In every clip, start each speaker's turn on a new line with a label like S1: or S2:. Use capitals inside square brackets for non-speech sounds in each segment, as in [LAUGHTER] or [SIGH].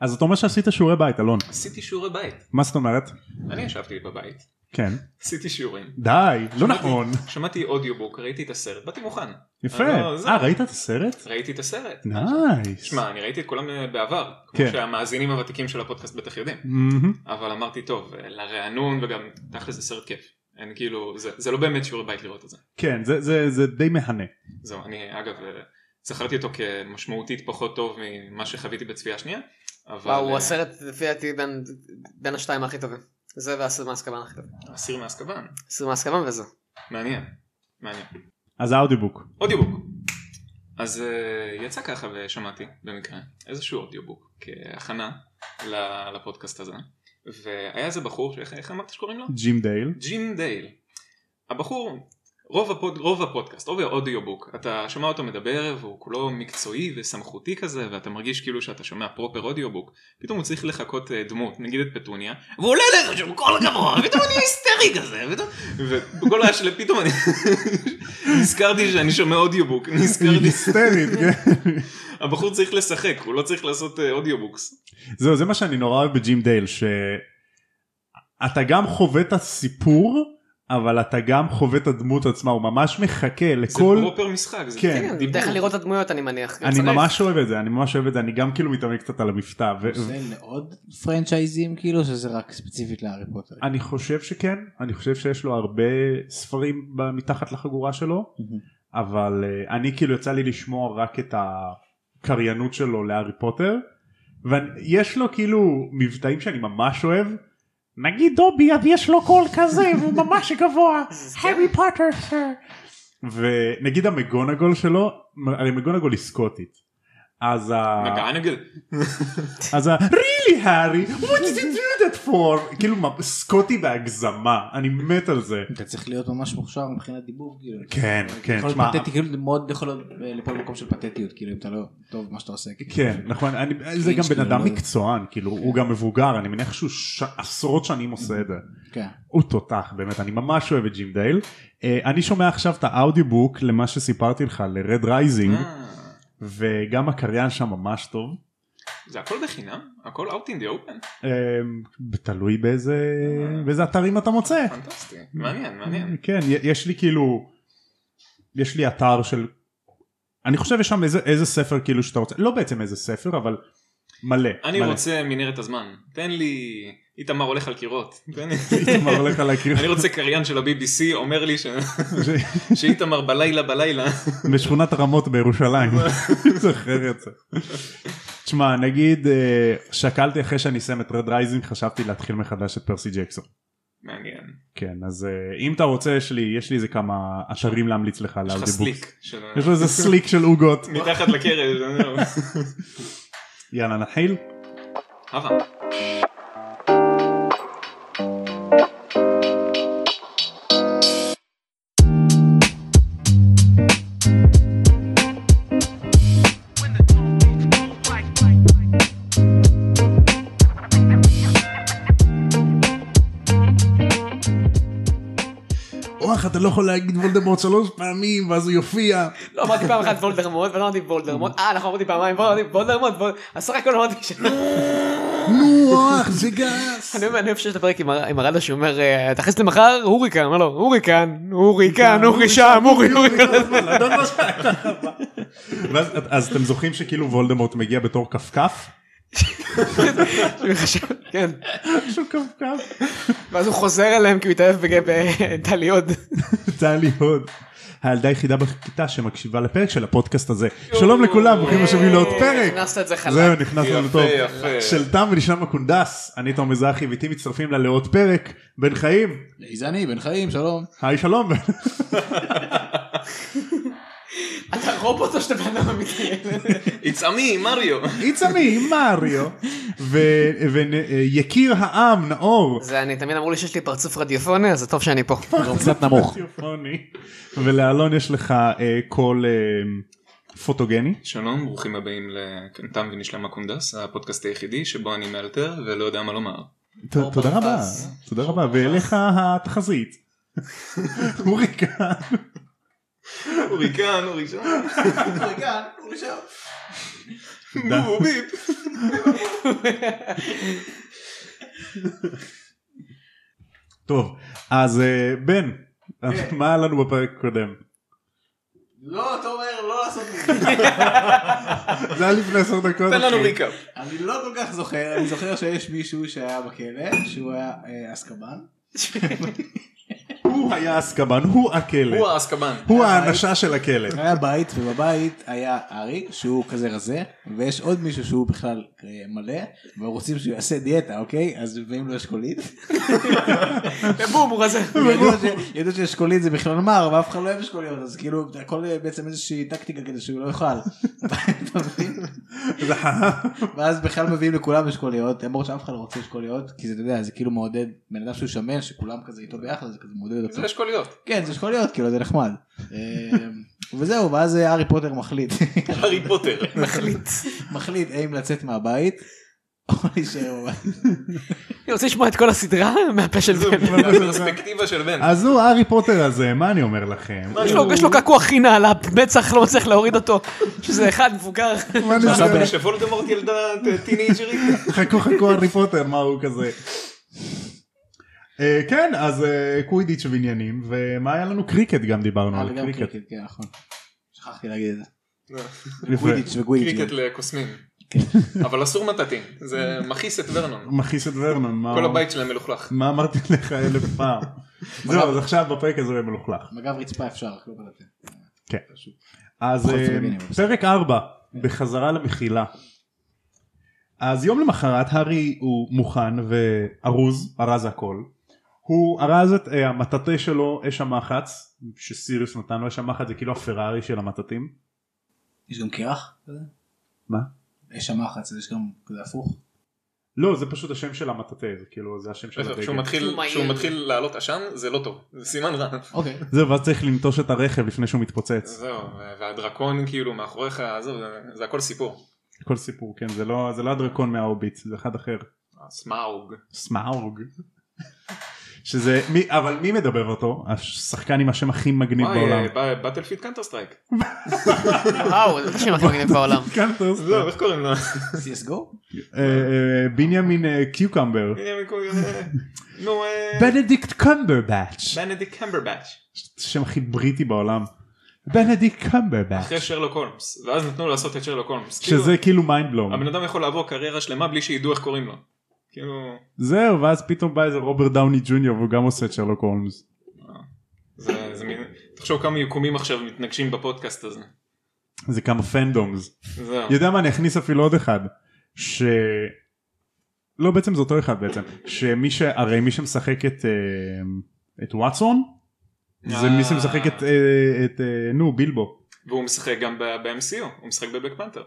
S1: אז אתה אומר שעשית שיעורי בית אלון
S2: עשיתי שיעורי בית.
S1: מה זאת אומרת
S2: אני ישבתי בבית,
S1: כן
S2: עשיתי שיעורים.
S1: די לא
S2: שמעתי-
S1: נכון
S2: שמעתי אודיובוק, ראיתי את הסרט, באתי מוכן.
S1: יפה
S2: אה, לא, זה-
S1: אה ראית את הסרט
S2: ראיתי את הסרט.
S1: נייס
S2: שמע, אני ראיתי את כולם אה, בעבר, כמו
S1: כן.
S2: שהמאזינים הוותיקים של הפודקאסט בטח יודעים.
S1: מהמם.
S2: אבל אמרתי, טוב, אה, לרענון וגם, תכל'ס זה סרט כיף. אין כאילו, זה, זה לא באמת שיעורי בית לראות את זה.
S1: כן זה זה זה די מהנה
S2: זהו, אני אגב, אה, זכרתי אותו כמשמעותית פחות טוב ממה שחוויתי בצפייה שנייה. אבל...
S3: וואו, הוא
S2: אה,
S3: הסרט לפי דעתי בין- בין השתיים הכי טובים. זה והסיר מאסקבן הכי טוב.
S2: אסיר מאסקבן.
S3: הסיר מאסקבן וזה.
S2: מעניין. מעניין.
S1: אז האודיובוק
S2: אודיובוק. אז אה, יצא ככה ושמעתי במקרה איזשהו אודיובוק כהכנה ל- לפודקאסט הזה והיה איזה בחור שאיך איך אמרת שקוראים לו?
S1: ג'ים דייל
S2: ג'ים דייל. הבחור רוב, הפוד, רוב הפודקאסט רוב האודיובוק אתה שומע אותו מדבר והוא כולו מקצועי וסמכותי כזה ואתה מרגיש כאילו שאתה שומע פרופר אודיובוק פתאום הוא צריך לחכות אה, דמות נגיד את פטוניה והוא עולה לך שם כל הגבוה ופתאום אני היסטרי כזה ופתאום- וכל השאלה פתאום אני [LAUGHS] נזכרתי שאני שומע אודיובוק נזכרתי
S1: היסטרית
S2: [LAUGHS]
S1: כן.
S2: הבחור צריך לשחק הוא לא צריך לעשות אה, אודיובוקס
S1: זהו זה מה שאני נורא אוהב בג'ים דייל שאתה גם חווה את הסיפור אבל אתה גם חווה את הדמות עצמה הוא ממש מחכה
S2: זה
S1: לכל
S2: פרופר משחק זה
S1: כן.
S3: כן,
S2: דיבור.
S3: תכף לראות את הדמויות אני מניח.
S1: אני
S3: צודק.
S1: ממש אוהב את זה אני ממש אוהב את זה אני גם כאילו מתאמן קצת על המבטא ו-
S4: זה לעוד פרנצ'ייזים כאילו שזה רק ספציפית להארי פוטר.
S1: אני חושב שכן, אני חושב שיש לו הרבה ספרים ב- מתחת לחגורה שלו,
S4: מהמם.
S1: אבל אה, אני כאילו יצא לי לשמוע רק את הקריינות שלו להארי פוטר, ויש לו כאילו מבטאים שאני ממש אוהב, נגיד דובי אז יש לו קול כזה והוא ממש גבוה, הארי פוטר סר. ונגיד המגונגול שלו, הרי מגונגול היא סקוטית. אז ה...
S2: מגענגל.
S1: אז ה... really הארי, what did you do that for? כאילו מה, סקוטי בהגזמה, אני מת על זה.
S4: אתה צריך להיות ממש מוכשר מבחינת דיבור כאילו.
S1: כן, כן,
S4: יכול
S1: שמע-
S4: להיות פתטי כאילו זה מאוד יכול להיות אה, ליפול במקום של פתטיות כאילו אם אתה לא טוב במה שאתה עושה. כאילו.
S1: כן, נכון, אני, זה גם בן
S4: כאילו,
S1: אדם
S4: לא-
S1: מקצוען, כאילו, הוא גם מבוגר, אני מניח שהוא ש... עשרות שנים עושה את זה.
S4: כן.
S1: הוא תותח, באמת, אני ממש אוהב את ג'ים דייל. אה, אני שומע עכשיו את האודיובוק למה שסיפרתי לך, לרד רייזינג,
S2: אה.
S1: וגם הקריין שם ממש טוב.
S2: זה הכל בחינם? הכל out in the open?
S1: אה, תלוי באיזה, באיזה אתרים אתה מוצא.
S2: פנטסטי. מעניין, מעניין.
S1: כן, י- יש לי כאילו, יש לי אתר של, אני חושב יש שם איזה, איזה ספר כאילו שאתה רוצה, לא בעצם איזה ספר, אבל מלא. [LAUGHS]
S2: אני
S1: מלא.
S2: רוצה מנהרת הזמן. תן לי... איתמר הולך על קירות. תן לי...
S1: [LAUGHS] איתמר הולך על הקיר.
S2: אני לא- רוצה קריין של ה-BBC אומר לי ש-
S1: [LAUGHS] ש-
S2: שאיתמר בלילה בלילה.
S1: בשכונת הרמות
S2: [LAUGHS]
S1: בירושלים. [LAUGHS] אני זוכר את זה. תשמע, נגיד, אה, שקלתי אחרי שאני אסיים את רד רייזינג, חשבתי להתחיל מחדש את פרסי ג'קסון.
S2: מעניין.
S1: כן, אז אה, אם אתה רוצה, יש לי, יש לי איזה כמה אתרים להמליץ לך על
S2: יש לך
S1: האודיובוק.
S2: סליק. של-
S1: יש לו איזה סליק של
S2: [LAUGHS]
S1: עוגות.
S2: מתחת לקרש. אני לא-
S1: יאללה, נתחיל.
S2: הווה.
S1: וואח, אתה לא יכול להגיד וולדמורט שלוש פעמים, ואז הוא יופיע.
S3: לא אמרתי פעם אחת וולדרמוט ולא אמרתי וולדרמוט. אה נכון אמרתי פעמיים וולדרמוט, וולדרמוט. וול- אז סך הכל אמרתי ש... [LAUGHS]
S1: נו, וואח, זה גס.
S3: אני אני אוהב שיש את הפרק עם הר- עם הרדה שאומר אה, תכניס למחר הוריקן. אומר לו הוריקן, הוריקן, הורי שם,
S1: [LAUGHS]
S3: הורי, הורי.
S1: ואז- אז אתם זוכרים שכאילו וולדמורט מגיע בתור כפכף?
S3: כן.
S1: משהו כפכף.
S3: ואז הוא חוזר אליהם כי הוא התאהב אה, בג- בטלי הוד.
S1: טלי הוד. הילדה היחידה בכיתה שמקשיבה לפרק של הפודקאסט הזה. שלום לכולם, ברוכים השבים לעוד פרק.
S3: אה, הכנסת את זה חלק.
S1: זהו, נכנס לנו
S2: יפה,
S1: טוב.
S2: יפה.
S1: של תם ונשלם הקונדס, אני תום מזרחי ואיתי מצטרפים לה לעוד פרק. בן חיים,
S4: זה אני בן חיים
S1: [LAUGHS]
S4: שלום.
S1: היי שלום.
S3: אתה רובוט או שאתה בן אדם אמיתי?
S2: It's a me, מריו.
S1: It's a me, מריו. ויקיר העם, נאור.
S3: זה אני תמיד אמרו לי שיש לי פרצוף רדיופוני אז זה טוב שאני פה.
S4: הוא קצת נמוך.
S1: רדיופוני. ולאלון יש לך אה, קול אה, פוטוגני.
S2: שלום, ברוכים הבאים לקנתם ונשלם הקונדס, הפודקאסט היחידי שבו אני מאלתר ולא יודע מה לומר.
S1: ת- תודה רבה,
S3: פרפס.
S1: תודה רבה, ואליך התחזית.
S2: [LAUGHS]
S1: הוריקן.
S2: הוריקן, הוריקן. בואו ביפ.
S1: טוב, אז אה, בן,
S4: כן.
S1: מה היה לנו בפרק הקודם?
S4: לא, אתה אומר לא לעשות את
S1: [LAUGHS]
S4: זה.
S1: זה היה לפני עשר דקות.
S2: תן לנו
S1: אחי.
S2: ריקאפ.
S4: אני לא כל כך זוכר, אני זוכר שיש מישהו שהיה בכלא, שהוא היה אה, אסקבן.
S1: הוא היה אסקבן, הוא הכלא.
S2: הוא האסקבן.
S1: הוא האנשה של
S2: [LAUGHS]
S1: הכלא.
S4: היה בית, ובבית היה ארי, שהוא כזה רזה, ויש עוד מישהו שהוא בכלל אה, מלא, ורוצים שהוא יעשה דיאטה, אוקיי? אז מביאים לו אשכולית.
S3: ובום הוא רזה.
S4: ידעו ש- ידעו שאשכולית זה בכלל מר, ואף אחד לא אוהב אשכוליות, אז כאילו זה הכל אה, בעצם איזושהי טקטיקה כדי שהוא לא יאכל. [LAUGHS] אתה מבין? ואז בכלל מביאים לכולם אשכוליות, למרות שאף אחד לא רוצה אשכוליות, כי זה, אתה יודע, זה כאילו מעודד בן אדם שהוא שמן, שכולם כזה איתו ביחד, זה כזה מעודד אותו.
S2: זה אשכוליות.
S4: כן, זה אשכוליות, כאילו, זה נחמד. [LAUGHS] אה, וזהו, ואז אה, הארי פוטר מחליט. [LAUGHS]
S2: הארי [LAUGHS] פוטר.
S3: מחליט.
S4: מחליט האם לצאת מהבית או להישאר בבית.
S3: אני רוצה לשמוע את כל הסדרה [LAUGHS] מהפה של
S2: זה
S3: בן.
S2: הפרספקטיבה של בן.
S1: אז הוא הארי פוטר הזה, מה אני אומר לכם?
S2: מה
S3: יש לו- יש לו קעקוע חינה על המצח, לא מצליח להוריד אותו. שזה אחד מבוגר.
S1: מה אני
S4: עכשיו
S1: אומר?
S4: בן-
S2: אה, שוולדמורט ילדה [LAUGHS] טינג'רית.
S1: חכו חכו הארי פוטר, מה הוא כזה? אה, כן, אז אה, קווידיץ' ועניינים, ומה היה לנו? קריקט גם דיברנו על
S4: אבל גם
S1: קריקט.
S4: קריקט, כן, נכון. שכחתי להגיד את זה.
S1: יפה.
S4: גווידיץ' וגווידיץ'.
S2: קריקט לקוסמים. אבל אסור מטאטים. זה מכעיס את ורנון.
S1: מכעיס את ורנון, מה-
S2: כל הבית שלהם מלוכלך.
S1: מה אמרתי לך אלף פעם? זהו, אז עכשיו בפרק הזה מלוכלך.
S4: מגב רצפה אפשר, כאילו בלתי. כן.
S1: אז
S4: בכל
S1: אה,
S4: פילוגנים, אבל
S1: פרק 4, בחזרה למחילה. אז יום למחרת הארי הוא מוכן וארוז, ארז הכל. הוא ארז את אה, המטאטה שלו אש המחץ, שסיריוס נתן לו אש המחץ, זה כאילו הפרארי של המטאטים.
S4: יש גם קרח? כזה?
S1: מה?
S4: יש שם מחץ, אז יש גם כזה הפוך.
S1: לא, זה פשוט השם של המטאטה, זה כאילו זה השם של
S2: להפך,
S1: הדגל.
S2: כשהוא מתחיל-
S3: הוא מהיר.
S2: כשהוא מתחיל לעלות עשן זה לא טוב. זה סימן רע.
S4: אוקיי.
S1: זהו, ואז צריך לנטוש את הרכב לפני שהוא מתפוצץ.
S2: זהו, והדרקון כאילו מאחוריך, עזוב, זה- זה הכל סיפור.
S1: כל סיפור, כן, זה לא, זה לא הדרקון מההוביט, זה אחד אחר.
S2: סמאוג.
S1: סמאוג. שזה, מי, אבל מי מדבר אותו? השחקן עם השם הכי מגניב בעולם.
S2: וואי, אה, בטלפיד קאנטר סטרייק.
S3: וואו, זה השם הכי מגניב
S1: [LAUGHS]
S3: בעולם.
S1: קנטוס.
S2: זהו, לא, איך קוראים לו?
S4: CSGO?
S1: כן, אה, אה, בנימין אה, קיוקמבר.
S2: [LAUGHS] הנה, מי קוראים לו? נו, אה,
S1: בנדיקט קמברבאץ'.
S2: בנדיק קמברבץ'.
S1: שם הכי בריטי בעולם. בנדיקט קמברבאץ'.
S2: אחרי שרלוק הולמס. ואז נתנו לו לעשות את שרלוק הולמס. כאילו,
S1: שזה כאילו מיינדבלום.
S2: הבן אדם יכול לעבור קריירה שלמה בלי שידעו איך קוראים לו. כאילו,
S1: זהו ואז פתאום בא איזה רוברט דאוני ג'וניור והוא גם עושה את שרלוק הולמס.
S2: זה זה מין... תחשוב כמה יקומים עכשיו מתנגשים בפודקאסט הזה.
S1: זה כמה פנדומס.
S2: זהו.
S1: יודע מה אני אכניס אפילו עוד אחד. ש... לא בעצם זה אותו אחד בעצם. שמי ש... הרי מי שמשחק את... אה, את וואטסון. זה מי שמשחק את... אה, את... אה, נו בילבו.
S2: והוא משחק גם ב-MCU, הוא משחק בבק פנתר.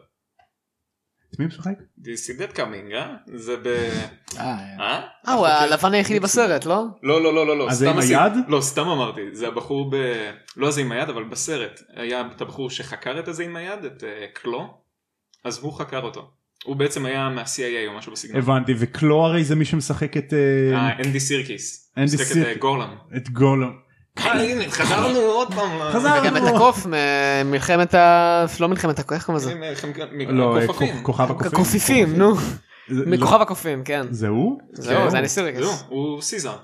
S1: את מי הוא משחק?
S2: This is that coming, אה? זה ב...
S4: אה,
S2: אה?
S3: אה, הוא הלבן היחידי בסרט, לא?
S2: לא, לא, לא, לא, לא.
S1: אז זה
S2: סתם
S1: עם
S2: עשי-
S1: היד?
S2: לא, סתם אמרתי. זה הבחור ב... לא זה עם היד, אבל בסרט. היה את הבחור שחקר את הזה עם היד, את אה, קלו, אז הוא חקר אותו. הוא בעצם היה מה-CIA או משהו בסגנון.
S1: הבנתי וקלו הרי זה מי שמשחק את... אה,
S2: אה, אנדי סירקיס.
S1: אנדי
S2: משחק את, אה,
S1: סירקיס.
S2: גורלם.
S1: את גולם.
S2: אה, הנה, חזרנו עוד פעם. אה, ל-
S1: חזרנו.
S3: גם את הקוף ממלחמת ה... לא מלחמת הקוף, איך קוראים לזה?
S2: הנה, הם- הם-
S1: לא, אה,
S2: הכופפים.
S1: כוכ- כוכב הקופים.
S3: הקופיפים, נו.
S1: זה- לא-
S3: מכוכב הקופים, כן.
S1: זה הוא?
S3: זהו,
S2: כן.
S3: זה לא. אני סירקס.
S2: זהו, הוא סיזר.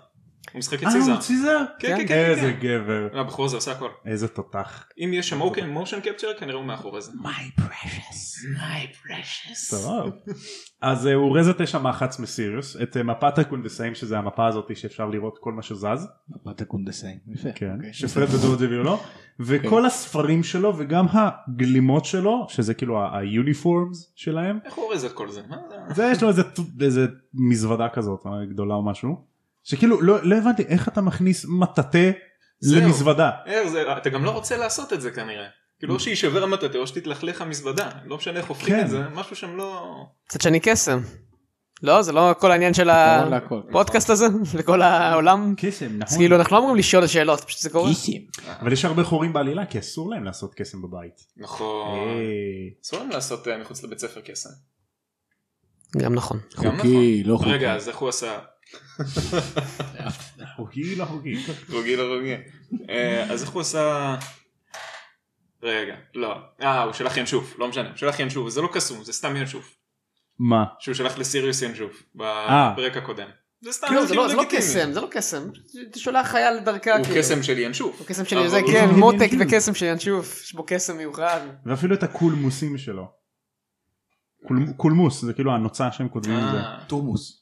S2: הוא משחק את
S1: אה,
S2: סיזר.
S1: הוא ציזר?
S2: כן, כן, כן,
S1: איזה
S2: כן.
S1: גבר.
S2: הבחור הזה עושה הכל.
S1: איזה תותח.
S2: אם יש שם אוקיי מושן קפצ'ר, כנראה הוא מאחורי זה.
S1: My precious.
S2: My precious.
S1: סבב. אז אה, הוא אורז את תשע מחץ מסיריוס, את אה, מפת הקונדסאים שזה המפה הזאת שאפשר לראות כל מה שזז, כן.
S4: מפת הקונדסאים.
S2: כן,
S4: יפה. אוקיי.
S1: שפרד ודורג' הביאו לו, וכל הספרים שלו וגם הגלימות שלו, שזה כאילו ה- היוניפורמס שלהם,
S2: איך הוא אורז את כל זה? מה זה?
S1: זה יש לו איזה, ט- איזה מזוודה כזאת אה, גדולה או משהו, שכאילו לא, לא הבנתי איך אתה מכניס מטאטא
S2: זהו.
S1: למזוודה.
S2: איך זה? אתה גם לא רוצה לעשות את זה כנראה. כאילו או שיישבר המטאטה או שתתלכלך המזוודה. לא משנה איך הופכים
S1: כן.
S2: את זה, משהו שם לא...
S3: מצד שני קסם. לא, זה לא כל העניין של
S4: פתרון להכל.
S3: הפודקאסט הזה, [LAUGHS] לכל העולם.
S1: קסם,
S2: נכון.
S3: אז כאילו אנחנו לא אמורים לשאול שאלות, פשוט זה קורה.
S4: גיסים.
S1: אבל יש הרבה חורים בעלילה כי אסור להם לעשות קסם בבית.
S2: נכון.
S1: אה.
S2: אסור לנו לעשות אה, מחוץ לבית ספר קסם.
S3: גם נכון.
S2: גם
S4: חוקי, לא חוקי.
S2: רגע, אז איך הוא עשה?
S1: חוקי לא חוקי.
S2: רוגי לא רוגי. אה, אז איך הוא עשה... רגע, לא. אה, הוא שלח ינשוף, לא משנה, הוא שלח ינשוף, זה לא קסום, זה סתם ינשוף.
S1: מה?
S2: שהוא שלח לסיריוס ינשוף,
S1: אה.
S2: בפרק הקודם. זה סתם
S3: לא, זה
S2: ינשוף
S3: לא זה לא
S2: לגיטימי.
S3: קסם, זה לא קסם. אתה שולח חיה לדרכה
S2: הוא
S3: כאילו.
S2: קסם של ינשוף.
S3: הוא קסם
S2: אבל
S3: של זה,
S2: הוא-
S3: כן,
S1: לא
S3: מותק
S1: ינשוף.
S3: וקסם של ינשוף, יש בו קסם מיוחד.
S1: ואפילו את הקולמוסים שלו. קול- קולמוס זה כאילו הנוצה שהם כותבים את זה.
S2: אה,
S4: תורמוס.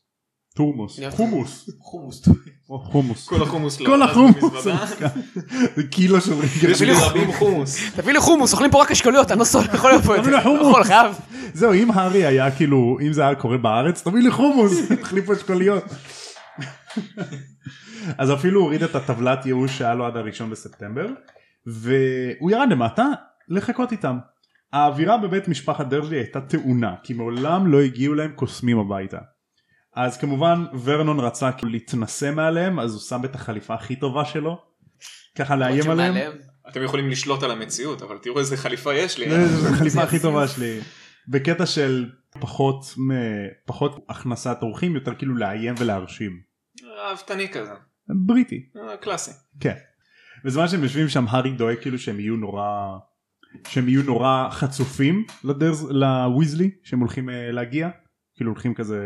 S1: טורמוס.
S3: יפה.
S1: חומוס.
S4: חומוס.
S1: או חומוס.
S2: כל החומוס לא.
S1: כל
S2: אז
S1: החומוס.
S2: במזוודה.
S1: [LAUGHS] זה כאילו קילו של
S2: יש לי
S1: רגל.
S2: רבים חומוס.
S3: תביא לי חומוס, אוכלים פה רק אשכוליות, אני לא סול- יכול להיות פה את זה.
S1: תביא לי חומוס.
S3: לא יכול, חייב.
S1: זהו אם הארי היה כאילו אם זה היה קורה בארץ תביא לי חומוס תחליפו אשכוליות. אז אפילו הוא הוריד את הטבלת ייאוש שהיה לו עד הראשון בספטמבר והוא ירד למטה לחכות איתם. האווירה בבית משפחת דרז'י הייתה טעונה כי מעולם לא הגיעו להם קוסמים הביתה. אז כמובן ורנון רצה כאילו להתנשא מעליהם אז הוא שם את החליפה הכי טובה שלו. ככה לאיים עליהם.
S2: אתם יכולים לשלוט על המציאות, אבל תראו איזה חליפה יש לי.
S1: אה, זה-
S2: [LAUGHS]
S1: זו החליפה הכי טובה שלי בקטע של פחות מ- פחות הכנסת אורחים יותר כאילו לאיים ולהרשים
S2: ראוותני כזה.
S1: בריטי
S2: אה, קלאסי.
S1: כן בזמן שהם יושבים שם הארי דואג כאילו שהם יהיו נורא שהם יהיו נורא חצופים לדרז לוויזלי שהם הולכים אה, להגיע כאילו הולכים כזה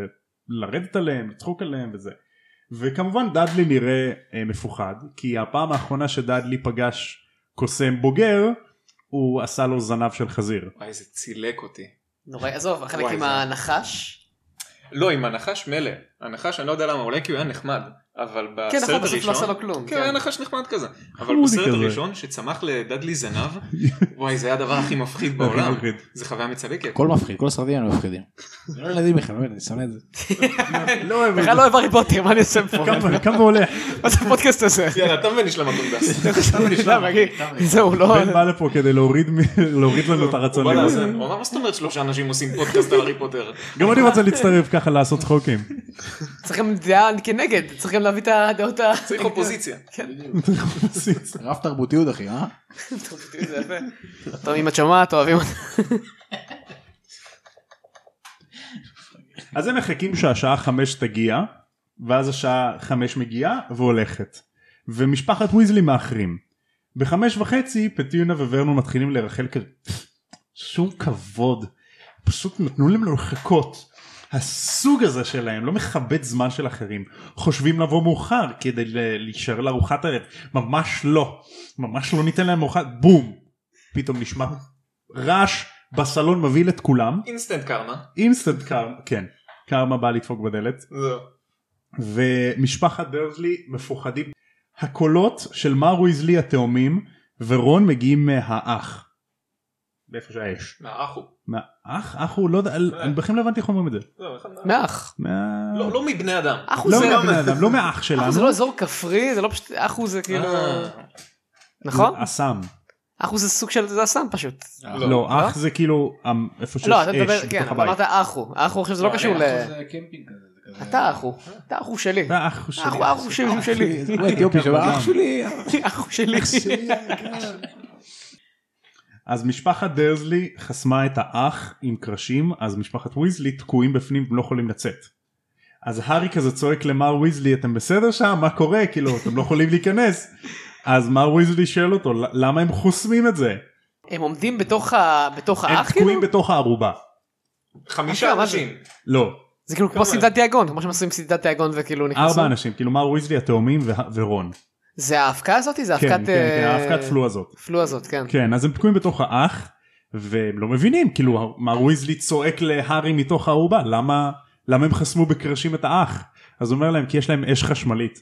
S1: לרדת עליהם לצחוק עליהם וזה וכמובן דאדלי נראה אה, מפוחד כי הפעם האחרונה שדאדלי פגש קוסם בוגר הוא עשה לו זנב של חזיר
S2: וואי, זה צילק אותי.
S3: נוראי, עזוב, החלק
S2: וואי,
S3: עם
S2: זה-
S3: הנחש.
S2: לא, עם הנחש מילא. הנחש, אני לא יודע למה, אולי כי הוא היה נחמד. אבל בסרט
S3: כן,
S2: הראשון...
S3: נכון, בסוף לא עשה לו כלום.
S2: כן,
S3: כן.
S2: היה נחש נחמד כזה. אבל
S1: חמודי
S2: בסרט
S1: כזה.
S2: הראשון, שצמח לדדלי זנב, [LAUGHS] וואי, זה היה הדבר הכי מפחיד
S1: אוקיי,
S2: בעולם. זה חוויה מצלקת.
S4: הכל מפחיד, כל הסרטים האלה [LAUGHS] מפחידים. זה לא ילדים בכלל, באמת, אני שונא את זה.
S1: לא אוהב את
S3: בכלל
S1: זה.
S3: לא אוהב הארי פוטר, מה אני עושה פה?
S1: כמה- כמה עולה?
S3: מה זה הפודקאסט הזה?
S2: יאללה, תם ונשלם הקונדס. [LAUGHS]
S3: למה, אחי? זהו, לא...
S1: בן בא לפה כדי להוריד מ- להוריד לנו את הרצון.
S2: הוא בא
S1: לראות.
S2: לאזן, הוא אמר, מה זאת אומרת שלושה אנשים עושים פודקאסט על הארי פוטר?
S1: גם אני רוצה להצטרף ככה לעשות צחוקים.
S3: צריכים דעה כנגד, צריכים להביא את הדעות ה... [LAUGHS]
S2: צריך אופוזיציה.
S4: רב תרבותיות אחי, אה?
S3: זה יפה. טוב, אם את שומעת, אוהבים אותה.
S1: אז הם מחכים שהשעה חמש תגיע, ואז השעה חמש מגיעה והולכת. ומשפחת ויזלי מאחרים. בחמש וחצי פטיונה וורנון מתחילים לרחל כזה. שום כבוד. פשוט נתנו להם לחכות. הסוג הזה שלהם לא מכבד זמן של אחרים. חושבים לבוא מאוחר כדי ל- להישאר לארוחת ערב. ממש לא. ממש לא ניתן להם ארוחת. בום. פתאום נשמע רעש בסלון מבהיל את כולם.
S2: אינסטנט קרמה.
S1: אינסטנט קרמה, כן, קרמה באה לדפוק בדלת
S2: זהו.
S1: ומשפחת דרזלי מפוחדים. הקולות של מר ויזלי התאומים ורון מגיעים מהאח. מאיפה שהאש.
S2: מהאח הוא.
S1: מהאח? אח הוא לא יודע, אני בכלל לא הבנתי איך אומרים את זה.
S2: זהו, אחד מהאח.
S3: מאח.
S1: מה-
S2: לא לא מבני אדם.
S3: אחו
S1: לא
S3: זה...
S1: מהבן אדם, לא מהאח
S3: אחו זה לא
S1: שלנו.
S3: אזור כפרי, זה לא פשוט... אחו זה כאילו...
S2: אה,
S3: נכון?
S1: אסם.
S3: אחו זה סוג של... זה הסם פשוט.
S2: לא.
S1: לא, אח זה כאילו אמ, איפה שיש
S3: לא, אתה מדבר...
S1: אש
S3: כן,
S1: בתוך
S3: אבל
S1: הבית.
S3: אמרת אחו. אחו עכשיו זה לא
S2: לא,
S3: קשור ל...
S4: זה קמפינג כזה, זה כזה.
S3: אתה אחו. אתה אחו שלי.
S1: זה האח שלי.
S3: אחו, אחו שלי. הוא שלי. [LAUGHS]
S4: הוא אתיופי שם,
S1: אח
S4: אח שלי.
S3: אחו שלי.
S1: אז משפחת דרזלי חסמה את האח עם קרשים אז משפחת ויזלי תקועים בפנים ולא יכולים לצאת. אז הארי כזה צועק למר ויזלי אתם בסדר שם מה קורה כאילו אתם לא יכולים להיכנס. אז מר ויזלי שואל אותו "ל- למה הם חוסמים את זה?
S3: הם עומדים בתוך ה... בתוך
S1: הם
S3: האח כאילו?
S1: תקועים בתוך הערובה.
S2: חמישה
S3: אחלה, מה זה?
S2: אנשים.
S1: לא
S3: זה כאילו כמו
S2: כמה?
S3: סעידת תיאגון, כמו שהם עושים סעידת תיאגון וכאילו נכנסו.
S1: ארבע אנשים כאילו מר ויזלי התאומים וה- ורון.
S3: זה ההאבקה הזאת? זה
S1: כן כן
S3: האבקת...
S1: כן
S3: אה,
S1: האבקת פלו הזאת.
S3: פלו הזאת, כן.
S1: כן אז הם תקועים בתוך האח והם לא מבינים כאילו מר ויזלי צועק להארי מתוך הערובה למה למה הם חסמו בקרשים את האח אז הוא אומר להם כי יש להם אש חשמלית.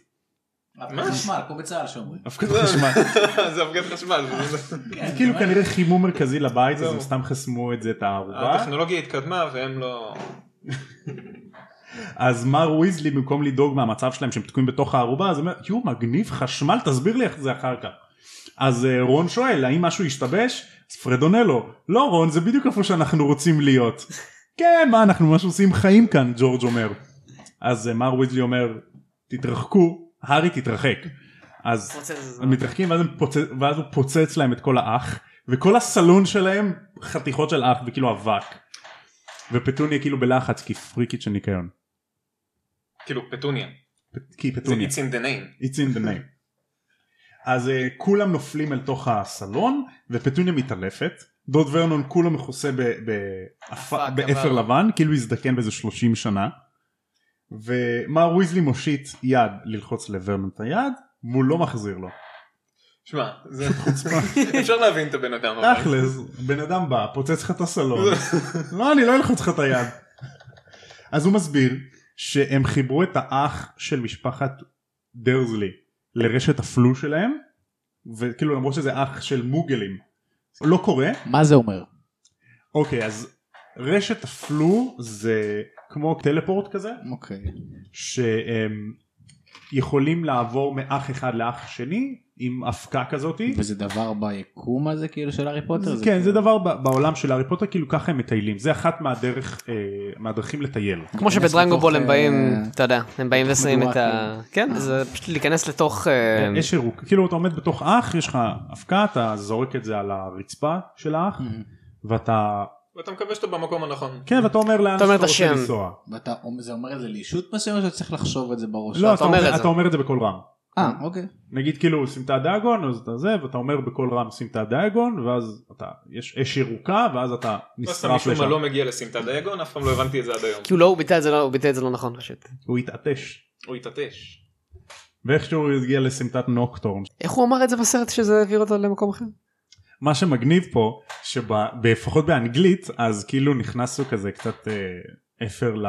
S2: מה?
S4: חשמל, כמו בצה"ל שאומרים.
S1: הפקת חשמל.
S2: [LAUGHS] זה הפגת חשמל.
S1: זה כאילו כנראה חימום מרכזי לבית אז
S2: זהו.
S1: הם סתם חסמו את זה את הערובה.
S2: הטכנולוגיה התקדמה והם לא...
S1: אז מר ויזלי במקום לדאוג מהמצב שלהם שהם תקועים בתוך הערובה אז הוא אומר יו מגניב חשמל תסביר לי איך זה אחר כך. אז אה, רון שואל האם משהו השתבש? אז פרדונלו לא רון זה בדיוק איפה שאנחנו רוצים להיות. [LAUGHS] כן מה אנחנו ממש עושים חיים כאן ג'ורג' אומר. אז אה, מר ויזלי אומר תתרחקו הארי תתרחק. אז
S3: רוצה לזה-
S1: הם מתרחקים ואז, הם פוצ... ואז הוא פוצץ להם את כל האח וכל הסלון שלהם חתיכות של אח וכאילו אבק. ופטוניה כאילו בלחץ כי פריקית של ניקיון.
S2: כאילו פטוניה.
S1: כי
S2: זה
S1: פטוניה.
S2: It's in the name.
S1: It's in the name. אז אה, כולם נופלים אל תוך הסלון ופטוניה מתעלפת. דוד ורנון כולו מכוסה ב- באפ-
S3: אפק,
S1: באפר
S3: אבל.
S1: לבן כאילו הזדקן באיזה 30 שנה. ומר ויזלי מושיט יד ללחוץ לוורנון את היד והוא לא מחזיר לו.
S2: שמע, זה אפשר להבין את הבן אדם. אבל.
S1: תכלס, בן אדם בא, פוצץ לך את הסלון. לא, אני לא אלחץ לך את היד. אז הוא מסביר שהם חיברו את האח של משפחת דרזלי לרשת הפלו שלהם, וכאילו למרות שזה אח של מוגלים. לא קורה.
S4: מה זה אומר?
S1: אוקיי, אז רשת הפלו זה כמו טלפורט כזה,
S4: אוקיי.
S1: שהם יכולים לעבור מאח אחד לאח שני עם אבקה כזאתי.
S4: וזה דבר ביקום הזה כאילו של הארי פוטר?
S1: כן זה
S4: כאילו-
S1: דבר ב- בעולם של הארי פוטר כאילו ככה הם מטיילים זה אחת מהדרך אה, מהדרכים לטייל.
S3: כמו
S4: להיכנס
S3: שבדרנגו
S4: לתוך,
S3: בול הם באים,
S4: אה,
S3: אתה יודע, הם באים ושמים
S4: מדורה,
S3: את ה...
S1: כאילו.
S3: כן, זה פשוט להיכנס לתוך... אה,
S1: יש עירוק כאילו אתה עומד בתוך אח יש לך אבקה אתה זורק את זה על הרצפה של האח
S4: אה,
S1: ואתה
S2: ואתה מקווה שאתה במקום הנכון.
S1: כן ואתה אומר לאן
S3: אתה אומר
S1: שאתה
S3: את
S1: רוצה
S3: השם.
S1: לנסוע.
S4: ואתה זה אומר את זה לישות מסוים או שאתה צריך לחשוב את זה בראש?
S1: לא אתה
S3: אומר את
S1: אומר
S3: זה.
S1: אתה אומר את זה בקול רם.
S4: אה אוקיי.
S1: נגיד כאילו שים את הדיאגון אז אתה זה ואתה אומר בקול רם שים את הדיאגון ואז אתה יש אש ירוקה ואז אתה
S2: אז אתה
S1: נשרף
S2: משום מה
S1: לשם.
S2: לא מגיע לסמטה דייגון, אף פעם לא הבנתי את זה עד היום.
S3: כי הוא לא, הוא ביטא את זה לא- הוא ביטא את זה לא נכון פשוט.
S1: הוא התעטש.
S2: הוא התעטש.
S1: ואיכשהו הוא הגיע לסמטת נוקטורן
S3: איך הוא אמר את זה בסרט שזה העביר אותו למקום אחר?
S1: מה שמגניב פה שלפחות באנגלית אז כאילו נכנס לו כזה קצת אה, אפר ל...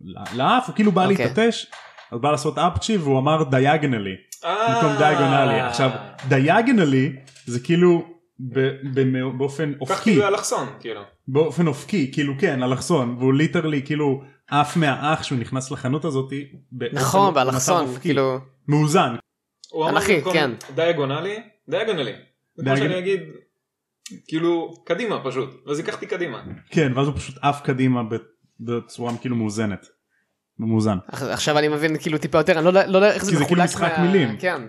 S1: ל- לאף הוא כאילו בא
S3: אוקיי.
S1: להתעטש אז בא לעשות אפצ'י והוא אמר דיאגנלי
S2: אה.
S1: במקום דיאגונלי עכשיו דיאגנלי זה כאילו ב- במא- באופן
S2: כך
S1: אופקי
S2: כאילו אלכסון, כאילו.
S1: באופן אופקי כאילו כן אלכסון והוא ליטרלי כאילו עף מהאח שהוא נכנס לחנות הזאתי באופן-
S3: נכון,
S1: במצב
S3: באלכסון,
S1: אופקי.
S3: כאילו...
S1: מאוזן
S2: הוא אמר
S3: אנכי,
S2: במקום
S3: כן.
S2: דיאגונלי, דיאגונלי. זה כמו
S1: דיאגונ-
S2: שאני אגיד, כאילו, קדימה פשוט. אז לקחתי קדימה.
S1: כן ואז הוא פשוט עף קדימה בצורה כאילו מאוזנת. מאוזן.
S3: אח- עכשיו אני מבין כאילו טיפה יותר, אני לא יודע- לא יודע איך זה
S1: כי זה
S3: מחולק
S1: כאילו משחק מילים.
S3: כן.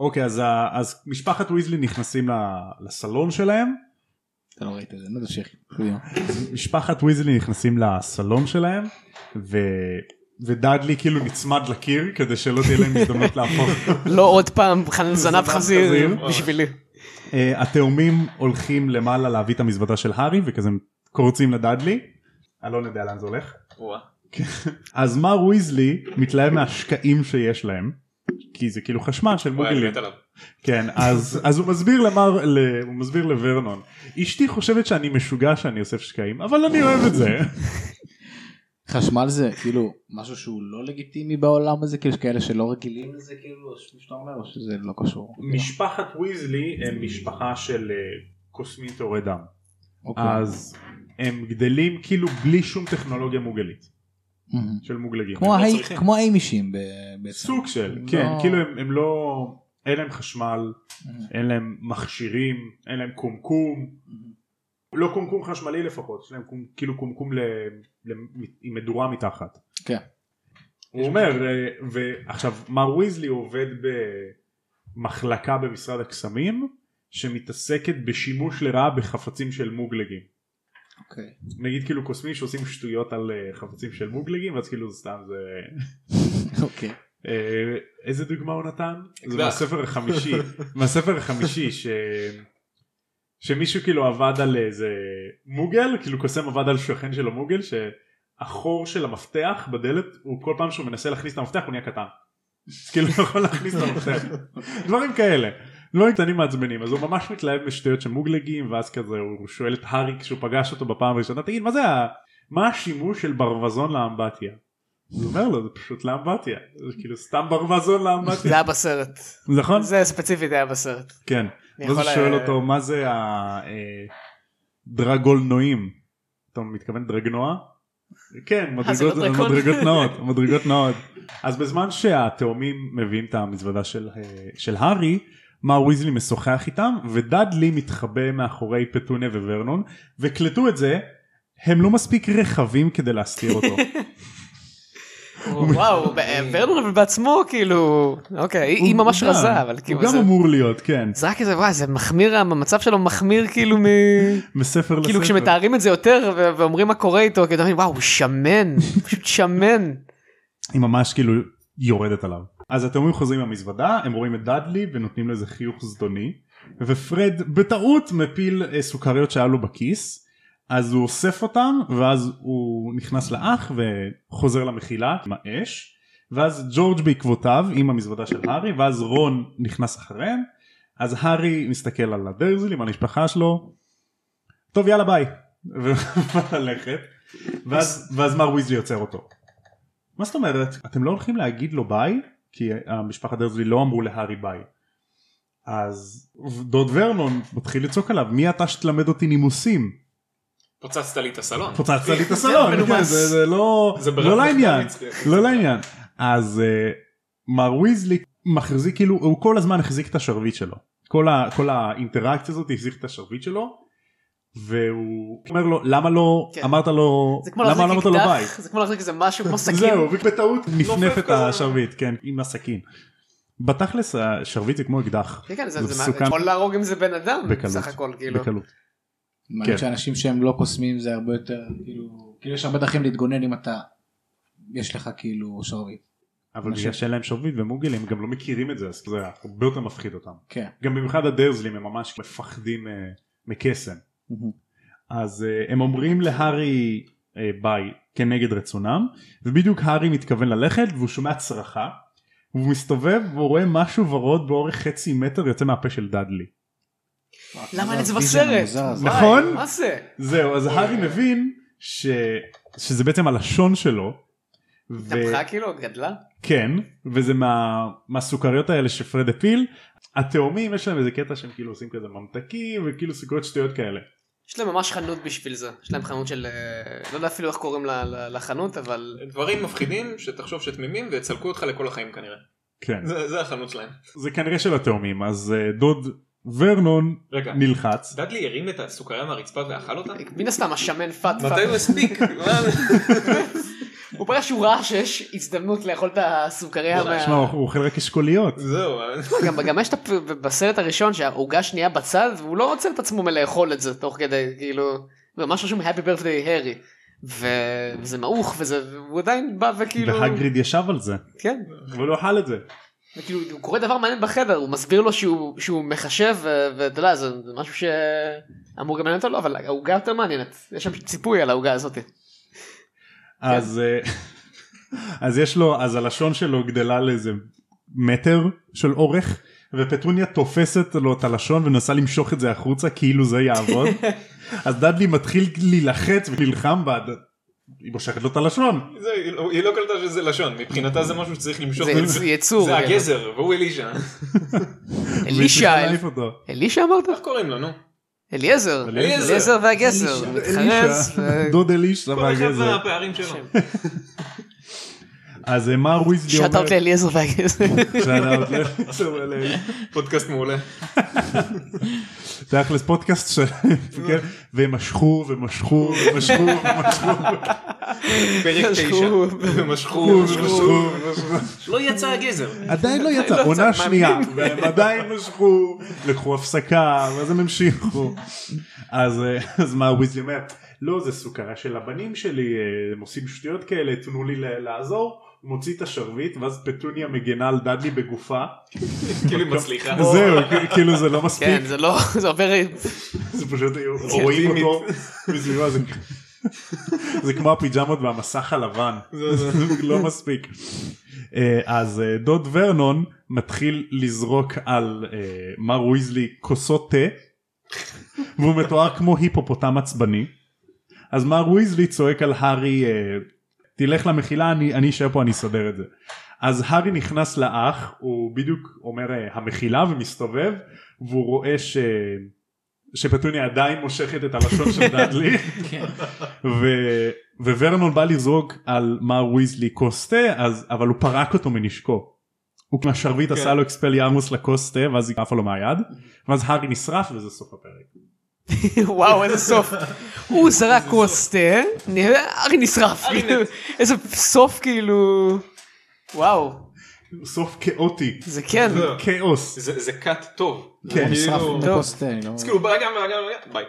S1: אוקיי אז, ה- אז משפחת ויזלי נכנסים ל- לסלון שלהם
S4: אתה לא ראית את זה, נו תמשיך.
S1: משפחת ויזלי נכנסים לסלון שלהם ו... ודאדלי כאילו נצמד לקיר כדי שלא תהיה להם הזדמנות להפוך.
S3: [LAUGHS] לא עוד פעם חנן זנב חזיר
S1: חזיר.
S3: בשבילי.
S1: אה, התאומים הולכים למעלה להביא את המזוודה של הארי וכזה קורצים לדאדלי. אני לא יודע לאן זה הולך.
S2: וואה.
S1: אז מר ויזלי מתלהב מהשקעים שיש להם. כי זה כאילו חשמל של
S2: וואי, אני
S1: מוגלים.
S2: מת עליו.
S1: כן אז אז הוא מסביר למר ל, הוא מסביר לוורנון אשתי חושבת שאני משוגע שאני אוסף שקעים אבל אני אוהב את זה
S4: חשמל זה כאילו משהו שהוא לא לגיטימי בעולם הזה, כאילו יש כאלה שלא רגילים לזה כאילו, שאתה אומר או שזה לא קשור.
S1: משפחת ויזלי הם משפחה של אה, קוסמים טהורי דם
S4: אוקיי.
S1: אה, אז הם גדלים כאילו בלי שום טכנולוגיה מוגלית
S4: מהמם.
S1: של מוגלגים
S4: כמו
S2: לא
S4: ההי-
S2: צריכים.
S4: כמו האימישים ב- בעצם.
S1: סוג של
S4: לא.
S1: כן כאילו הם, הם לא אין להם חשמל
S4: מהמם.
S1: אין להם מכשירים אין להם קומקום
S4: Mm-hmm.
S1: לא קומקום חשמלי לפחות יש להם קומ, כאילו קומקום ל, ל, עם מדורה מתחת
S4: כן.
S1: הוא אומר, אה, ועכשיו מר ויזלי עובד במחלקה במשרד הקסמים שמתעסקת בשימוש לרעה בחפצים של מוגלגים.
S4: אוקיי. [LAUGHS]
S1: נגיד כאילו קוסמים שעושים שטויות על אה, חפצים של מוגלגים אז כאילו זה סתם זה
S4: אוקיי.
S1: אה, איזה דוגמה הוא נתן? זה
S2: אקדח.
S1: מהספר החמישי מהספר החמישי ש... שמישהו כאילו עבד על איזה מוגל כאילו קוסם עבד על שכן שלו מוגל שהחור של המפתח בדלת הוא כל פעם שהוא מנסה להכניס את המפתח הוא נהיה קטן. אז [LAUGHS] כאילו הוא יכול להכניס את המפתח דברים כאלה. דברים קטנים מעצבנים אז הוא ממש מתלהב בשטויות של מוגלגים ואז כזה הוא שואל את הארי כשהוא פגש אותו בפעם הראשונה תגיד מה זה ה... מה השימוש של ברווזון לאמבטיה. אז הוא אומר לו זה פשוט לאמבטיה זה כאילו סתם ברווזון
S3: זה
S1: לאמבטיה
S3: היה בסרט.
S1: נכון
S3: [LAUGHS] זה ספציפית היה בסרט.
S1: כן.
S3: אני
S1: ואז הוא
S3: יכול,
S1: שואל
S3: אה,
S1: אותו מה זה הדרגולנועים. אתה מתכוון דרגנוע? כן
S3: זה לא
S1: מדרגות
S3: דרקון.
S1: מדרגות
S3: [LAUGHS]
S1: נאות מדרגות נאות. אז בזמן שהתאומים מביאים את המזוודה של, אה, של הארי מר ויזלי משוחח איתם ודאדלי מתחבא מאחורי פטוניה וורנון וקלטו את זה הם לא מספיק רחבים כדי להסתיר
S3: [LAUGHS]
S1: אותו.
S3: וואו, ב- ורנון אבל בעצמו כאילו, אוקיי, היא היא
S1: הוא-
S3: ממש
S1: הוא גם-
S3: רזה, אבל כאילו,
S1: הוא גם
S3: זה-
S1: אמור להיות כן
S3: זה רק איזה, וואי, זה מחמיר, המצב שלו מחמיר כאילו מ...
S1: מספר לספר.
S3: כאילו כשמתארים את זה יותר ו- ואומרים מה קורה איתו, כאילו, אומרים, וואו, הוא שמן, פשוט שמן.
S1: היא ממש כאילו יורדת עליו. אז התאומים חוזרים מהמזוודה, הם רואים את דאדלי ונותנים לזה חיוך זדוני, ופרד בטעות מפיל אה, סוכריות שהיה לו בכיס, אז הוא אוסף אותם, ואז הוא נכנס לאח וחוזר למחילה עם האש, ואז ג'ורג' בעקבותיו עם המזוודה של הארי, ואז רון נכנס אחריהם, אז הארי מסתכל על הדרזלים, על המשפחה שלו, טוב יאללה ביי, [LAUGHS] וללכת, ואז, ואז מר ויזלי יוצר אותו. מה זאת אומרת? אתם לא הולכים להגיד לו ביי? כי המשפחת דרזלי לא אמרו להארי ביי. אז דוד ורנון מתחיל לצעוק עליו, מי אתה שתלמד אותי נימוסים?
S2: פוצצת לי את הסלון.
S1: פוצצת לי את הסלון, כן, זה זה לא
S2: זה ברמת
S1: לא לעניין,
S2: מצוין.
S1: לא לעניין. אז אה, מר ויזלי מחזיק כאילו, הוא כל הזמן החזיק את השרביט שלו. כל ה- כל האינטראקציה הזאת החזיק את השרביט שלו. והוא אומר לו למה לא
S3: כן.
S1: אמרת לו
S3: זה כמו
S1: למה לא אמרת
S3: להחזיק
S1: לו ביי.
S3: אקדח, זה כמו להחזיק איזה משהו כמו סכין.
S1: זהו, ובטעות נפנף את
S2: כזה.
S1: השרביט, כן, עם הסכין. בתכלס השרביט זה כמו אקדח.
S3: כן, כן, זה
S1: זה
S3: זה מה-
S1: מסוכן.
S3: יכול להרוג עם זה בן אדם,
S1: בקלות.
S3: בסך הכל, כאילו.
S1: בקלות.
S4: מעניין
S1: כן.
S4: שאנשים שהם לא קוסמים זה הרבה יותר כאילו כאילו יש הרבה דרכים להתגונן אם אתה יש לך כאילו שרביט.
S1: אבל בגלל שאין להם שרביט ומוגל הם גם לא מכירים את זה, אז זה הרבה יותר מפחיד אותם.
S4: כן.
S1: גם במיוחד הדרזלים הם ממש מפחדים אה, מקסם. אז אה, הם אומרים להארי אה, ביי כנגד רצונם ובדיוק הארי מתכוון ללכת והוא שומע צרחה והוא מסתובב והוא רואה משהו ורוד באורך חצי מטר יוצא מהפה של דאדלי.
S3: למה אין את זה
S4: הוויז'ן
S3: בסרט?
S4: המוזר הזה.
S3: וואי,
S1: נכון?
S3: מה זה?
S1: זהו אז הארי מבין ש... שזה בעצם הלשון שלו. ו-
S3: התהפכה כאילו? גדלה?
S1: כן וזה מה... מהסוכריות האלה שפרד הפיל. התאומים יש להם איזה קטע שהם כאילו עושים כזה ממתקים וכאילו סוכריות שטויות כאלה.
S3: יש להם ממש חנות בשביל זה. יש להם חנות של... אה, לא יודע אפילו איך קוראים ל- ל- לחנות, אבל...
S2: דברים מפחידים שתחשוב שתמימים ויצלקו אותך לכל החיים כנראה.
S1: כן.
S2: זה זה החנות שלהם.
S1: זה כנראה של התאומים אז אה, דוד ורנון
S2: רגע,
S1: נלחץ.
S2: דדלי הרים את הסוכריה מהרצפה ואכל אותה?
S3: מן הסתם השמן פאט
S2: מתי הוא
S3: פאט.
S2: הספיק?
S3: הוא ברגע שהוא ראה שיש הזדמנות לאכול את הסוכריה. מה-
S1: שמע, הוא הוא אוכל רק אשכוליות.
S2: זהו. [LAUGHS]
S3: גם- גם יש את הפ- בסרט הראשון שהעוגה שנייה בצד והוא לא עוצר את עצמו מלאכול את זה תוך כדי כאילו ממש רשום happy birthday הארי ו- וזה מעוך וזה והוא עדיין בא וכאילו
S1: והגריד ישב על זה,
S3: כן
S1: אבל הוא אכל את זה.
S3: וכאילו הוא קורא דבר מעניין בחדר הוא מסביר לו שהוא שהוא מחשב ו- ואתה יודע זה זה משהו שאמור גם לעניין אותו לא אבל העוגה יותר מעניינת יש שם ציפוי על העוגה הזאת כן.
S1: אז אה, אז יש לו, אז הלשון שלו גדלה לאיזה מטר של אורך, ופטרוניה תופסת לו את הלשון ומנסה למשוך את זה החוצה כאילו זה
S3: [LAUGHS]
S1: יעבוד. אז דאדלי מתחיל להילחץ ונלחם בה, ד- היא מושכת לו את הלשון.
S2: זהו, היא לא- היא לא קלטה שזה לשון, מבחינתה זה משהו שצריך למשוך.
S3: זה
S2: את
S3: יצ- יצור
S2: זה
S3: כן.
S2: הגזר, והוא אלישע.
S1: והיא [LAUGHS] צריכה
S3: אלישע
S1: להעיף אותו.
S3: אלישע אמרת?
S2: איך קוראים לו, נו?
S3: אליעזר
S1: אליעזר.
S3: אליעזר והגזר
S1: אלישע,
S3: מתחרז אה, ו-
S1: דוד אלישע
S2: כל אחד
S1: והגזר.
S2: והפערים שלו.
S1: אז אה, מר ויזלי אומר...
S3: שאט אאוט לאליעזר והגזר.
S1: שאט-אאוט לאליעזר.
S2: פודקאסט מעולה.
S1: תכלס פודקאסט
S3: [LAUGHS]
S1: שלהם, כן? והם משכו ומשכו ומשכו ומשכו
S2: פרק תשע.
S3: משכו.
S2: ומשכו.
S1: ומשכו ומשכו.
S2: לא יצא הגזר.
S1: עדיין לא יצא,
S3: יצא,
S1: עונה
S3: מאמין.
S1: שנייה, והם עדיין משכו, לקחו הפסקה, ואז הם המשיכו. אז אה, אז מה וויזלי אומר? לא, זה סוכרה של הבנים שלי, אה, הם עושים שטויות כאלה, תנו לי ל- לעזור. הוא מוציא את השרביט, ואז פטוניה מגנה על דדלי בגופה.
S2: כאילו היא מצליחה.
S1: אוקיי. זהו, כ- כאילו זה לא מספיק.
S3: כן זה לא [LAUGHS] זה עובר
S1: זה פשוט רואים
S2: אופטימית.
S1: אותו מסביבו זה זה כמו הפיג'מות והמסך הלבן זה לא מספיק. אה, אז אה, דוד ורנון מתחיל לזרוק על אה, מר ויזלי כוסות תה והוא מתואר כמו היפופוטם עצבני אז מר ויזלי צועק על הארי אה, תלך למחילה אני אני אשאר פה אני אסדר את זה. אז הארי נכנס לאח הוא בדיוק אומר אה, המחילה ומסתובב והוא רואה ש... שפטוניה עדיין מושכת את הלשון של דאדלי ו... וורנון בא לזרוק על מר ויזלי כוס תה אז אבל הוא פרק אותו מנשקו. הוא עם השרביט עשה לו אקספל ירמוס לכוס תה ואז היא עפה לו מהיד ואז הארי נשרף וזה סוף הפרק.
S3: וואו איזה סוף. הוא זרק כוס תה, נראה- ארי נשרף.
S2: ארי
S3: כאילו, [LAUGHS] איזה סוף כאילו. וואו
S1: סוף כאוטי.
S3: זה כן.
S1: לא,
S2: זהו.
S1: כאוס.
S2: זה זה קאט טוב.
S1: כן,
S4: הוא נשרף
S2: כאילו-
S4: מכוס תה, אני לא-
S2: אז כאילו בא גם, בא גם, בא גם, ביי.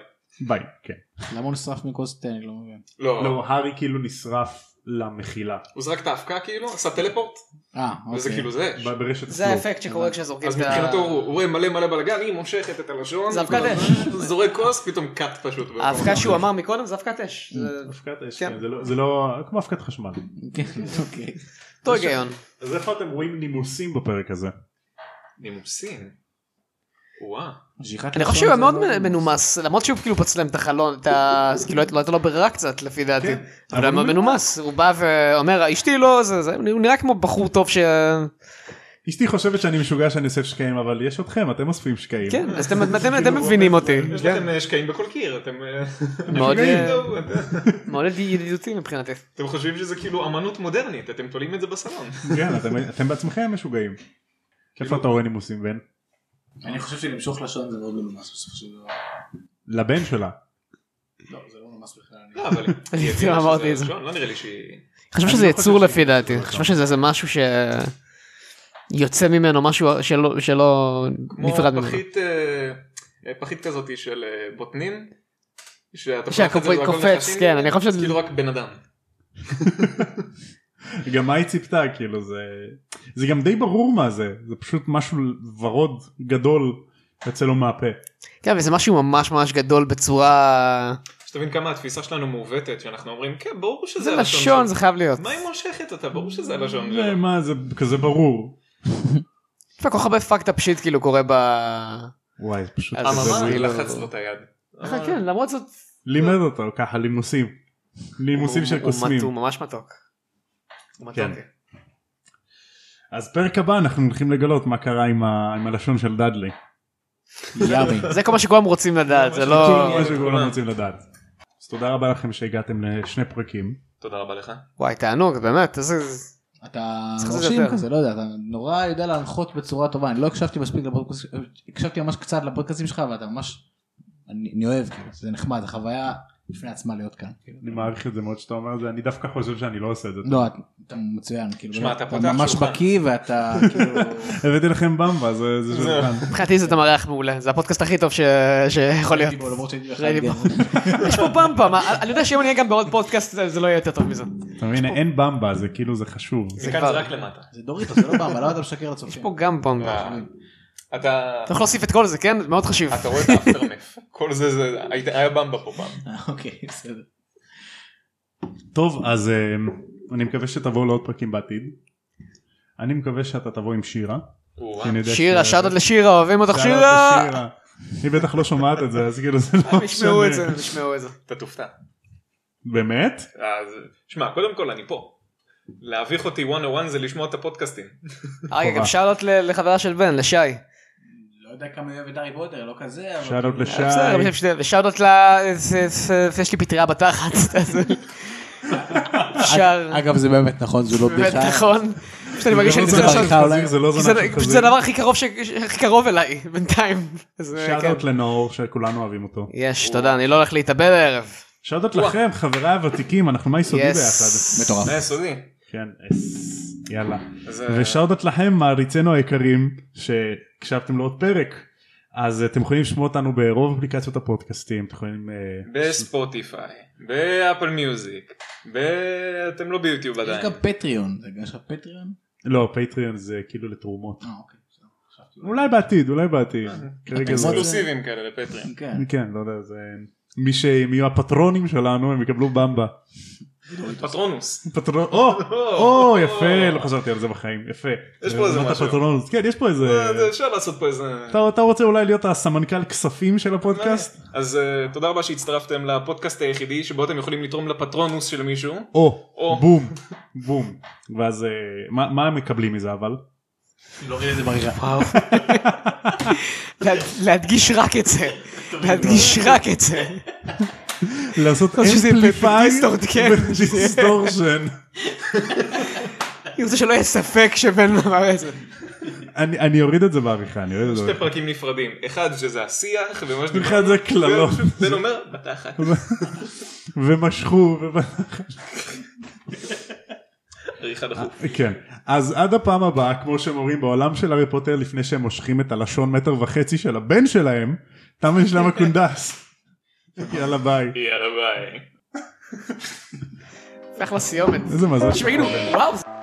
S1: ביי. כן.
S4: למה הוא נשרף מכוס תה, אני לא מבין.
S2: לא,
S1: לא הארי כאילו נשרף למחילה.
S2: הוא זרק את האבקה כאילו, עשה טלפורט,
S4: אה,
S2: וזה
S4: אוקיי.
S2: כאילו זה אש.
S1: ב- ברשת
S3: זה
S1: סלו.
S3: האפקט שקורה כשזורקים
S2: אז
S3: את ה...
S2: מבחינתו הוא הוא רואה מלא מלא בלאגן, היא מושכת את הלשון,
S3: זה אבקת אש.
S2: זורק כוס, פתאום קאט פשוט.
S3: האבקה שהוא אמר מקודם זה אבקת אש. זה
S1: אבקת אש,
S3: כן.
S1: כן, זה לא- זה לא כמו אבקת חשמל.
S4: כן, אוקיי.
S3: אותו היגיון.
S1: אז איפה אתם רואים נימוסים בפרק הזה?
S2: נימוסים. וואה.
S4: משיכת
S3: אני חושב
S4: לשון
S3: שהוא היה
S4: זה
S3: מאוד
S4: לא-
S3: מנומס, למרות שהוא כאילו פצלם את החלון, את ה... אז כאילו לא הייתה לו ברירה קצת לפי דעתי.
S1: כן,
S3: אבל היה מאוד מנומס, הוא בא ואומר אשתי לא, זה, זה, הוא נראה כמו בחור טוב ש...
S1: אשתי חושבת שאני משוגע שאני אוסף שקעים, אבל יש אתכם, אתם אוספים שקעים.
S3: כן, אז אתם, אתם, אתם מבינים אותי.
S2: יש לכם אה, שקעים בכל קיר, אתם... אה,
S3: מאוד,
S2: אתם
S3: אה,
S2: טוב, אתם-
S3: מאוד ידידותי מבחינתי.
S2: אתם חושבים שזה כאילו אמנות מודרנית, אתם תולים את זה בסלון.
S1: כן, אתם- אתם בעצמכם משוגעים. איפה
S2: כאילו-
S1: אתה רואה נימוסים בן?
S4: אני חושב שלמשוך לשון זה מאוד מנומס בסופו של דבר.
S1: לבן שלה.
S4: לא, זה לא מנומס בכלל. אני-
S2: לא,
S3: [LAUGHS]
S2: אבל...
S3: אני
S2: היא הבינה
S3: אמרתי
S2: שזה
S3: את זה.
S2: הראשון, לא נראה לי שהיא...
S3: אני חושב
S1: אני
S3: שזה
S1: לא חושב
S3: יצור
S1: שזה
S3: לפי
S1: יצור
S3: דעתי, אני
S1: בכלל.
S3: חושב שזה איזה משהו ש... יוצא ממנו משהו שלא, שלא
S2: כמו
S3: נפרד ממנו.
S2: פחית, אה, אה, פחית כזאתי של אה, בוטנים. שאתה פותח את זה
S3: שהקופץ,
S2: והכל
S3: קופץ,
S2: נחשים,
S3: כן, אני חושב
S2: אז
S3: שזה...
S2: כאילו רק בן אדם.
S1: גם מה היא ציפתה כאילו זה זה גם די ברור מה זה זה פשוט משהו ורוד גדול יוצא לו מהפה.
S3: כן, וזה משהו ממש ממש גדול בצורה...
S2: שתבין כמה התפיסה שלנו מעוותת, שאנחנו אומרים, כן, ברור שזה
S3: זה
S2: הלשון
S3: לשון, זה
S2: שלו."
S3: חייב להיות.
S2: מה היא מושכת אותה? ברור שזה הלשון
S1: זה
S2: שלו.
S1: מה זה כזה ברור.
S3: יש כל כך הרבה fucked up shit כאילו קורה ב...
S1: וואי זה פשוט
S3: אז
S1: כזה
S3: אממה?
S2: אממה,
S1: weird.
S2: היא לחץ לו את היד.
S3: אה, כן, למרות זאת...
S1: לימד אותו ככה לימוסים. לימוסים של
S3: הוא- הוא
S1: קוסמים.
S3: מת- הוא ממש מתוק. הוא מתוק.
S1: כן. אז פרק הבא אנחנו הולכים לגלות מה קרה עם ה- עם הלשון של דאדלי.
S4: יאמי.
S3: זה כל מה שכולם רוצים לדעת, זה לא...
S1: זה מה שכולם רוצים לדעת. אז תודה רבה לכם שהגעתם לשני פרקים.
S2: תודה רבה לך.
S3: וואי, תענוג, באמת, איזה...
S4: אתה
S3: צריך לעשות
S4: מרשים
S3: יותר.
S4: כזה, לא יודע, אתה נורא יודע להנחות בצורה טובה, אני לא הקשבתי מספיק לפודקאסט, הקשבתי ממש קצת לפודקאסטים שלך, ואתה ממש, אני אני אוהב, כאילו, זה נחמד, זו חוויה בפני עצמה להיות כאן. כאילו.
S1: אני מעריך את זה מאוד שאתה אומר את זה אני דווקא חושב שאני לא עושה את זה.
S4: לא, אתה- אתה מצוין, כאילו,
S2: שמע, אתה
S4: אתה
S2: פותח
S4: ממש
S2: שולחן.
S4: בקיא ואתה, כאילו,
S3: [LAUGHS]
S1: הבאתי לכם במבה זה זה
S2: זהו.
S1: שולחן.
S3: מבחינתי זה מארח מעולה, זה הפודקאסט הכי טוב ש- שיכול להיות.
S4: ראיתי בו, למרות שהייתי בכלל
S3: ראיתי בו.
S4: גבר.
S3: יש פה במפה, מה- אני יודע שאם אני אהיה גם בעוד פודקאסט זה זה לא יהיה יותר טוב מזה.
S1: אתה מבין אין במבה זה כאילו זה חשוב.
S2: מכאן
S3: כבר-
S2: זה רק למטה.
S4: זה דוריטוס, זה לא בא, אבל למה אתה משקר לצופים?
S3: יש פה גם במפה.
S2: אה, אתה
S3: אתה יכול להוסיף את כל זה, כן? מאוד חשיב.
S2: אתה רואה את האפטרנף. כל זה זה היית- היה במבה פה פעם.
S4: [LAUGHS] אה, אוקיי, בסדר.
S1: טוב אז אה, אני מקווה שתבואו לעוד פרקים בעתיד. אני מקווה שאתה תבוא עם שירה.
S2: וואו.
S1: כי אני יודע
S3: שירה,
S1: ש-
S3: שאלות לשירה, אוהבים אותך
S1: שאלות
S3: שירה!
S1: לשירה. היא בטח לא שומעת את זה אז כאילו זה
S3: הם
S1: לא
S3: ישמעו את זה,
S1: משנה.
S3: הם ישמעו את זה.
S2: אתה תופתע.
S1: באמת?
S2: אז שמע, קודם כל אני פה. להביך אותי 101 זה לשמוע את הפודקאסטים.
S3: אה, רגע,
S1: חובה.
S3: גם שאלות ל- לחברה של בן, לשי.
S4: לא יודע כמה אוהב את הארי פוטר, לא כזה, אבל...
S1: שאלות לשי.
S3: אה, בסדר, אבל שתי- ושאלות ל... זה- זה- זה- יש לי פטריה בתחת. אז
S1: [LAUGHS]
S3: אפשר...
S4: אגב, זה באמת נכון, זו לא
S3: באמת,
S4: בדיחה.
S3: נכון? פשוט אני מרגיש שאני
S4: זה
S3: צריך
S4: בעיקר
S3: לעשות...
S4: בדיחה,
S1: כאילו,
S4: אולי.
S1: זה לא
S3: כי
S1: זנב של
S3: זה- זה
S1: חזיר.
S3: הדבר הכי קרוב ש- הכי קרוב אליי בינתיים. אז, אה, כן.
S1: שאלות לנאור שכולנו אוהבים אותו.
S3: יש, תודה, אני לא הולך להתאבד הערב.
S1: שאלות לכם חבריי הוותיקים אנחנו מה יסודי
S3: Yes.
S1: ביחד.
S4: מטורף.
S2: זה יסודי. אה,
S1: כן אס, יאללה.
S2: זה-
S1: ושאודות לכם מעריצינו היקרים שהקשבתם לעוד פרק אז אה, אתם יכולים לשמוע אותנו ברוב אפליקציות הפודקאסטים אתם יכולים אה,
S2: בספוטיפיי, באפל מיוזיק, ב... אתם לא ביוטיוב
S4: יש
S2: עדיין.
S4: גם פטריון, זה- יש לך פטריון?
S1: לא פטריון זה כאילו לתרומות
S4: אה, אוקיי. בסדר. חשבתי-
S1: אולי בעתיד אולי בעתיד
S2: אה,
S1: כרגע זה
S2: אקסקלוסיבים כאלה לפטרים.
S4: כן.
S1: כן לא יודע זה מי שהם יהיו הפטרונים שלנו הם יקבלו במבה
S2: פטרונוס.
S1: פטרון או או יפה לא חשבתי על זה בחיים יפה
S2: יש פה איזה
S1: אמרת
S2: משהו.
S1: פטרונות. כן יש פה איזה
S2: אה, זה- אפשר לעשות פה איזה...
S1: אתה אתה רוצה אולי להיות הסמנכ"ל כספים של הפודקאסט
S2: אז אה, תודה רבה שהצטרפתם לפודקאסט היחידי שבו אתם יכולים לתרום לפטרונוס של מישהו.
S1: או
S2: או.
S1: בום בום ואז אה, מה מה הם מקבלים מזה אבל.
S3: וואו. לה- להדגיש רק את זה. להדגיש רק את זה.
S1: לעשות
S3: שזה
S1: אמפליפיי
S3: ב-distort, כן.
S1: ודיסטורשן.
S3: אני רוצה שלא יהיה ספק שבן אמר את זה.
S1: אני אני אוריד את זה בעריכה, אני אוריד את זה
S2: שתי
S1: בעריכה.
S2: פרקים נפרדים. אחד שזה השיח ומה שדיברנו.
S1: אחד זה קללות.
S2: ופשוט בן אומר בתחת.
S1: ומשכו, ו-
S2: עריכה דחוף.
S1: כן. אז עד הפעם הבאה, כמו שהם אומרים בעולם של הארי פוטר, לפני שהם מושכים את הלשון מטר וחצי של הבן שלהם, תם ושלם אוקיי. הקונדס. יאללה ביי.
S2: יאללה ביי.
S3: אחלה סיומת.
S1: איזה מזל.
S3: תשמעו, וואו.